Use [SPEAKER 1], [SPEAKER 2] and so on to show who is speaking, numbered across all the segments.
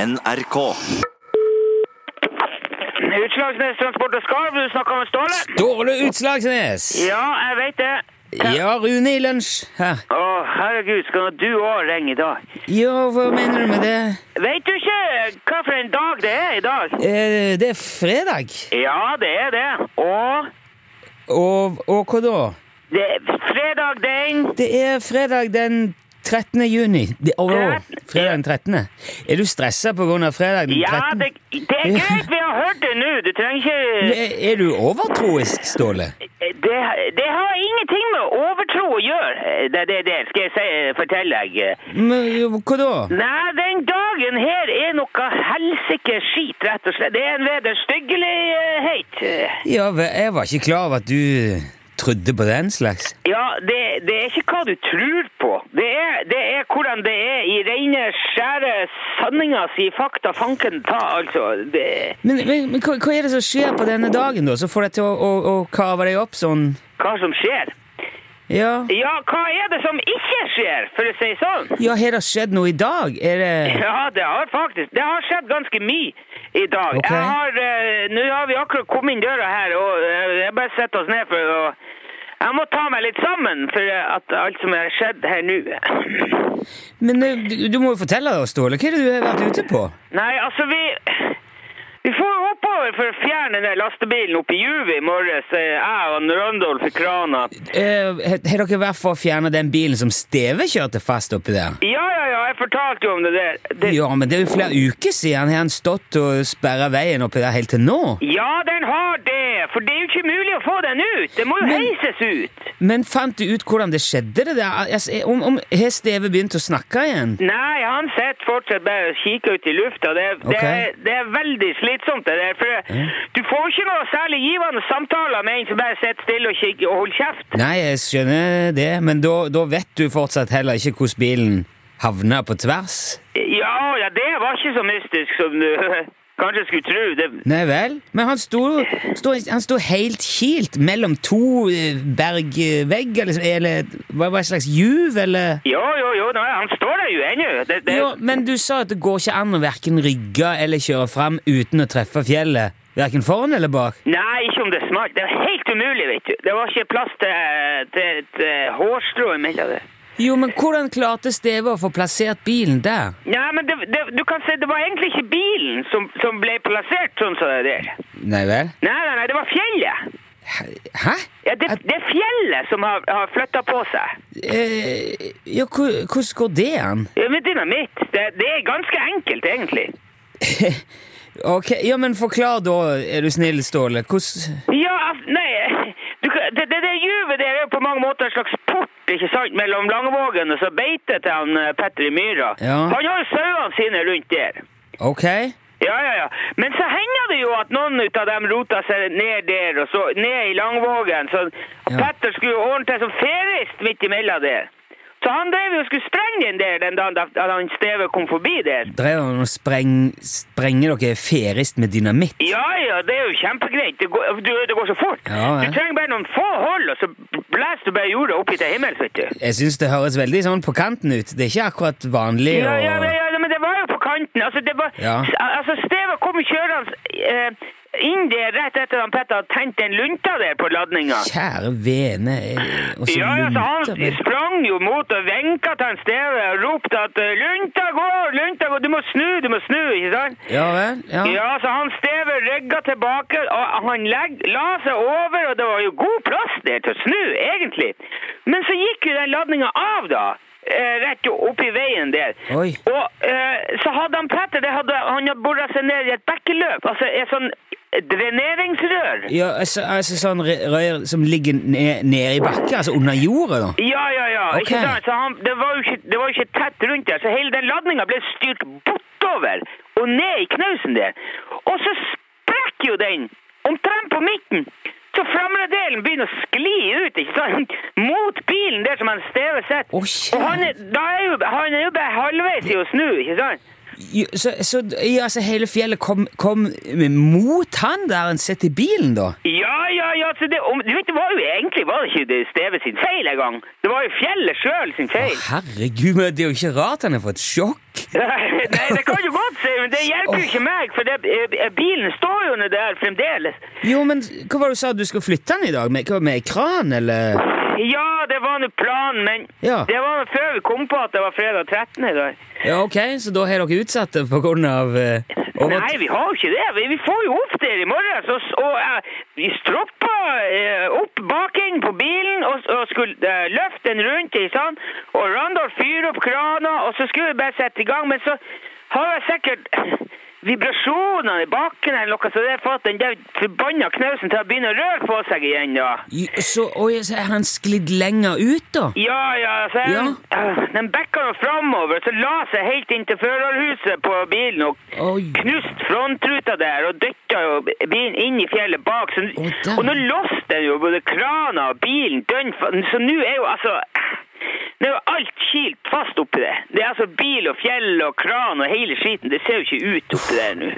[SPEAKER 1] NRK.
[SPEAKER 2] Utslagsnes Transport og Skarv, du snakker med Ståle?
[SPEAKER 3] Ståle Utslagsnes!
[SPEAKER 2] Ja, jeg vet det.
[SPEAKER 3] Ja, Rune i lunsj her.
[SPEAKER 2] Å, herregud, skal du òg ringe i dag?
[SPEAKER 3] Ja, hva mener du med det?
[SPEAKER 2] Vet du ikke hva for en dag det er i dag?
[SPEAKER 3] Eh, det er fredag.
[SPEAKER 2] Ja, det er det. Og
[SPEAKER 3] Og, og hva da?
[SPEAKER 2] det er fredag den
[SPEAKER 3] Det er fredag den 13. juni. Det- Å, å, fredag den 13. Er du stressa på grunn av fredag den
[SPEAKER 2] Ja,
[SPEAKER 3] 13.?
[SPEAKER 2] det, det er greit, vi har hørt det nå. Du trenger ikke
[SPEAKER 3] Er, er du overtroisk, Ståle?
[SPEAKER 2] det, det har ingenting med overtro å gjøre, det, det, det skal jeg si, fortelle deg.
[SPEAKER 3] Men, jo, hva da?
[SPEAKER 2] Nei, den dagen her er noe helsike skit, rett og slett. Det er en eh, vederstyggelighet.
[SPEAKER 3] Ja, vel, jeg var ikke klar over at du trodde på den slags.
[SPEAKER 2] Ja, det, det er ikke hva du tror på. Det er, det er hvordan det er i rene, skjære sanninga si fakta fanken ta, altså. Det,
[SPEAKER 3] Men, men, men hva, hva er det som skjer på denne dagen, da, som får deg til å, å, å kave deg opp sånn?
[SPEAKER 2] hva som skjer?
[SPEAKER 3] Ja,
[SPEAKER 2] Ja, hva er det som ikke skjer, for å si sånn?
[SPEAKER 3] ja har det skjedd noe i dag? Er det
[SPEAKER 2] Ja, det har faktisk. Det har skjedd ganske mye i dag.
[SPEAKER 3] Ok.
[SPEAKER 2] Jeg har, eh, Nå har vi akkurat kommet inn døra her, og eh, jeg bare setter oss ned for å Jeg må ta meg litt sammen for eh, at alt som har skjedd her nå
[SPEAKER 3] Men eh, du, du må jo fortelle oss, Ståle. Hva er det du har vært ute på?
[SPEAKER 2] Nei, altså, vi vi får jo oppover for å fjerne den lastebilen oppe i Juvet i morges. eh, Jeg og Randolf i krana.
[SPEAKER 3] Eh, Har har dere vært for å fjerne den bilen som Steve kjørte fast oppi der?
[SPEAKER 2] Ja, ja, ja, jeg fortalte jo om det der. Det,
[SPEAKER 3] Ja, men det er jo flere uker siden. Har han stått og sperra veien oppi der helt til nå?
[SPEAKER 2] ja, den har det! For det er jo ikke mulig å få den ut! Den må jo heises ut!
[SPEAKER 3] Men fant du ut hvordan det skjedde? det der? Altså, eh, om, om, har Steve begynt å snakke igjen?
[SPEAKER 2] Nei, han sitter fortsatt bare og kikker ut i lufta. Det, er- det,
[SPEAKER 3] Ok.
[SPEAKER 2] er- det er veldig slitsomt, det der. For du får ikke noe særlig givende samtaler med en som bare sitter stille og kikker og holder kjeft.
[SPEAKER 3] Nei, jeg skjønner det, men da, da vet du fortsatt heller ikke hvordan bilen havna på tvers?
[SPEAKER 2] Ja, ja, det var ikke så mystisk som du kanskje skulle tro. Det,
[SPEAKER 3] Nei vel, men han sto, sto, han sto helt kilt mellom to eh, bergvegger, liksom, eller hva var det slags juv, eller?
[SPEAKER 2] jo, jo, jo, nei, han står der jo ennå. Det, det,
[SPEAKER 3] Jo, men du sa at det går ikke an å hverken rygge eller kjøre fram uten å treffe fjellet, hverken foran eller bak.
[SPEAKER 2] Nei, ikke om det er smart. Det var helt umulig, vet du. Det var ikke plass til, til et eh, hårstrå imellom det.
[SPEAKER 3] Jo, men hvordan klarte Steve å få plassert bilen der?
[SPEAKER 2] Nei, men det, det, du kan si det var egentlig ikke bilen som, som ble plassert sånn som det der.
[SPEAKER 3] Nei vel?
[SPEAKER 2] Nei, nei, nei, det var fjellet.
[SPEAKER 3] Hæ?
[SPEAKER 2] Ja, det, det er fjellet som har, har flytta på seg.
[SPEAKER 3] Eh, ja, hvor- hvordan går det an?
[SPEAKER 2] Ja, Med dynamitt. Det, det er ganske enkelt, egentlig.
[SPEAKER 3] Ok, ja, men forklar da, er du snill, Ståle, hvordan...
[SPEAKER 2] Ja, altså, nei du, kan- Det, det, det juvet der er jo på mange måter en slags port ikke sant, mellom Langevågen og så beitet til han eh, Petter i Myra.
[SPEAKER 3] Ja.
[SPEAKER 2] Han har jo sauene sine rundt der.
[SPEAKER 3] Ok.
[SPEAKER 2] Ja, ja, ja. Men så hender det jo at noen ut av dem rota seg ned der, og så ned i Langvågen. Så
[SPEAKER 3] Ja.
[SPEAKER 2] Petter skulle jo ordne til som ferist midt imellom der. Så han drev jo og skulle sprenge den der den dagen da da han Steve kom forbi der.
[SPEAKER 3] Drev han og spreng, sprenger dere ferist med dynamitt?
[SPEAKER 2] Ja, ja, det er jo kjempegreit. Det går, du, det går så fort.
[SPEAKER 3] Ja, ja.
[SPEAKER 2] Du trenger bare noen få hold, og så blæser du bare jorda opp hit til himmels, vet du.
[SPEAKER 3] Jeg syns det høres veldig sånn på kanten ut. Det er ikke akkurat vanlig
[SPEAKER 2] Ja,
[SPEAKER 3] å
[SPEAKER 2] ja, men, ja, men det var jo på kanten. Altså, det var,
[SPEAKER 3] Ja.
[SPEAKER 2] altså Steve kom kjørende eh, inn der rett etter at Petter hadde tent den lunta der på ladninga.
[SPEAKER 3] Kjære vene eh, Og så
[SPEAKER 2] Ja, ja, så han
[SPEAKER 3] lunter med
[SPEAKER 2] sprang jo mot og vinka til han Steve og ropte at eh, 'Lunta går! Lunta går! Du må snu! Du må snu!' ikke sant?
[SPEAKER 3] Ja vel? Ja.
[SPEAKER 2] Ja, så han Steve rygga tilbake, og han legg, la seg over, og det var jo god plass der til å snu, egentlig. Men så gikk jo den ladninga av, da. eh, Rett jo opp i veien der.
[SPEAKER 3] Oi.
[SPEAKER 2] Og eh, så hadde han Petter det hadde, Han hadde bora seg ned i et bekkeløp. Altså et sånn dreneringsrør.
[SPEAKER 3] ja altså, altså sånn re- rør som ligger nede ned i bakken, altså under jorda, da.
[SPEAKER 2] Ja, ja, ja.
[SPEAKER 3] Ok.
[SPEAKER 2] Ikke sant? Så han, det, var jo ikke, det var jo ikke tett rundt der, så hele den ladninga ble styrt bortover og ned i knausen der. Og så sprekk jo den omtrent på midten. Så fremre delen begynner å skli ut, ikke sant? Mot bilen der som han Steve sitter.
[SPEAKER 3] Å, shit.
[SPEAKER 2] og han er, da er jo, han er jo bare halvveis i å snu, ikke sant?
[SPEAKER 3] Jo, Så, så ja, altså, hele fjellet kom, kom mot han der han sitter i bilen, da?
[SPEAKER 2] Ja, ja, ja, så det, om, du vet, det var jo egentlig var det ikke det Steve sin feil en gang. Det var jo fjellet sjøl sin feil.
[SPEAKER 3] Herregud, men det er jo ikke rart han har fått sjokk.
[SPEAKER 2] Nei, det kan du godt si, men det, det hjelper jo ikke meg, for det, eh, bilen står jo nå der fremdeles.
[SPEAKER 3] Jo, men hva var det du sa, du skulle flytte den i dag? Med, hva, med kran, eller?
[SPEAKER 2] Ja, det var nå planen, men
[SPEAKER 3] Ja.
[SPEAKER 2] det var nå før vi kom på at det var fredag 13. i dag.
[SPEAKER 3] Ja, ok, så da har dere utsatt det på grunn av eh, over-
[SPEAKER 2] Nei, vi har jo ikke det. Vi- Vi får jo opp der i morgen. Så, s- og eh, vi stroppa eh, opp bakenden på bilen og, s- og skulle eh, løfte den rundt. Ikke sant? Og Randolf fyrer opp krana, og så skulle vi bare sette i gang. Men så har jeg sikkert vibrasjoner i bakken eller noe, så det har fått den der forbanna knausen til å begynne å røre på seg igjen. da.
[SPEAKER 3] Jo, Så, oi, så er han sklidd lenger ut, da?
[SPEAKER 2] Ja, ja, så jeg, øh, den backa nå framover, så la seg helt inn til førerhuset på bilen og
[SPEAKER 3] Oi.
[SPEAKER 2] knust frontruta der og dytta jo bilen inn i fjellet bak. Så,
[SPEAKER 3] Å, der.
[SPEAKER 2] og nå låste jo både krana og bilen dønn fa- Så nå er jo altså Nå er jo alt kilt fast oppi det. Det er altså bil og fjell og kran og hele skiten. Det ser jo ikke ut oppi der nå.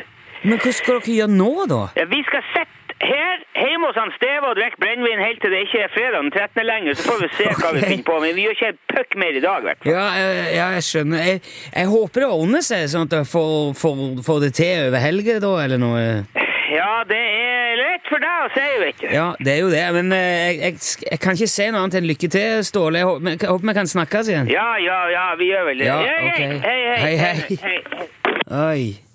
[SPEAKER 3] Men hva skal dere gjøre nå, da?
[SPEAKER 2] Ja, Vi skal sitte her hjemme hos han Steve og drikke brennevin helt til det ikke er fredag den 13. lenger, så får vi se hva vi
[SPEAKER 3] Ok.
[SPEAKER 2] finner på. Men vi gjør ikke en puck mer i dag, i hvert fall.
[SPEAKER 3] Ja, jeg, ja, jeg skjønner. Jeg, jeg håper det ordner seg, sånn at jeg får, får, får det til over helga, da, eller noe.
[SPEAKER 2] Ja, det er lett for deg å si, vet du.
[SPEAKER 3] Ja, det er jo det, men eh, jeg, jeg, sk- jeg kan ikke si noe annet enn lykke til, Ståle. Jeg håper, jeg håper vi kan snakkes igjen.
[SPEAKER 2] Ja, ja, ja, vi gjør vel det.
[SPEAKER 3] Ja,
[SPEAKER 2] Hei,
[SPEAKER 3] ok.
[SPEAKER 2] hei, hei, hei,
[SPEAKER 3] Hei, hei.
[SPEAKER 2] hei, hei.
[SPEAKER 3] Oi.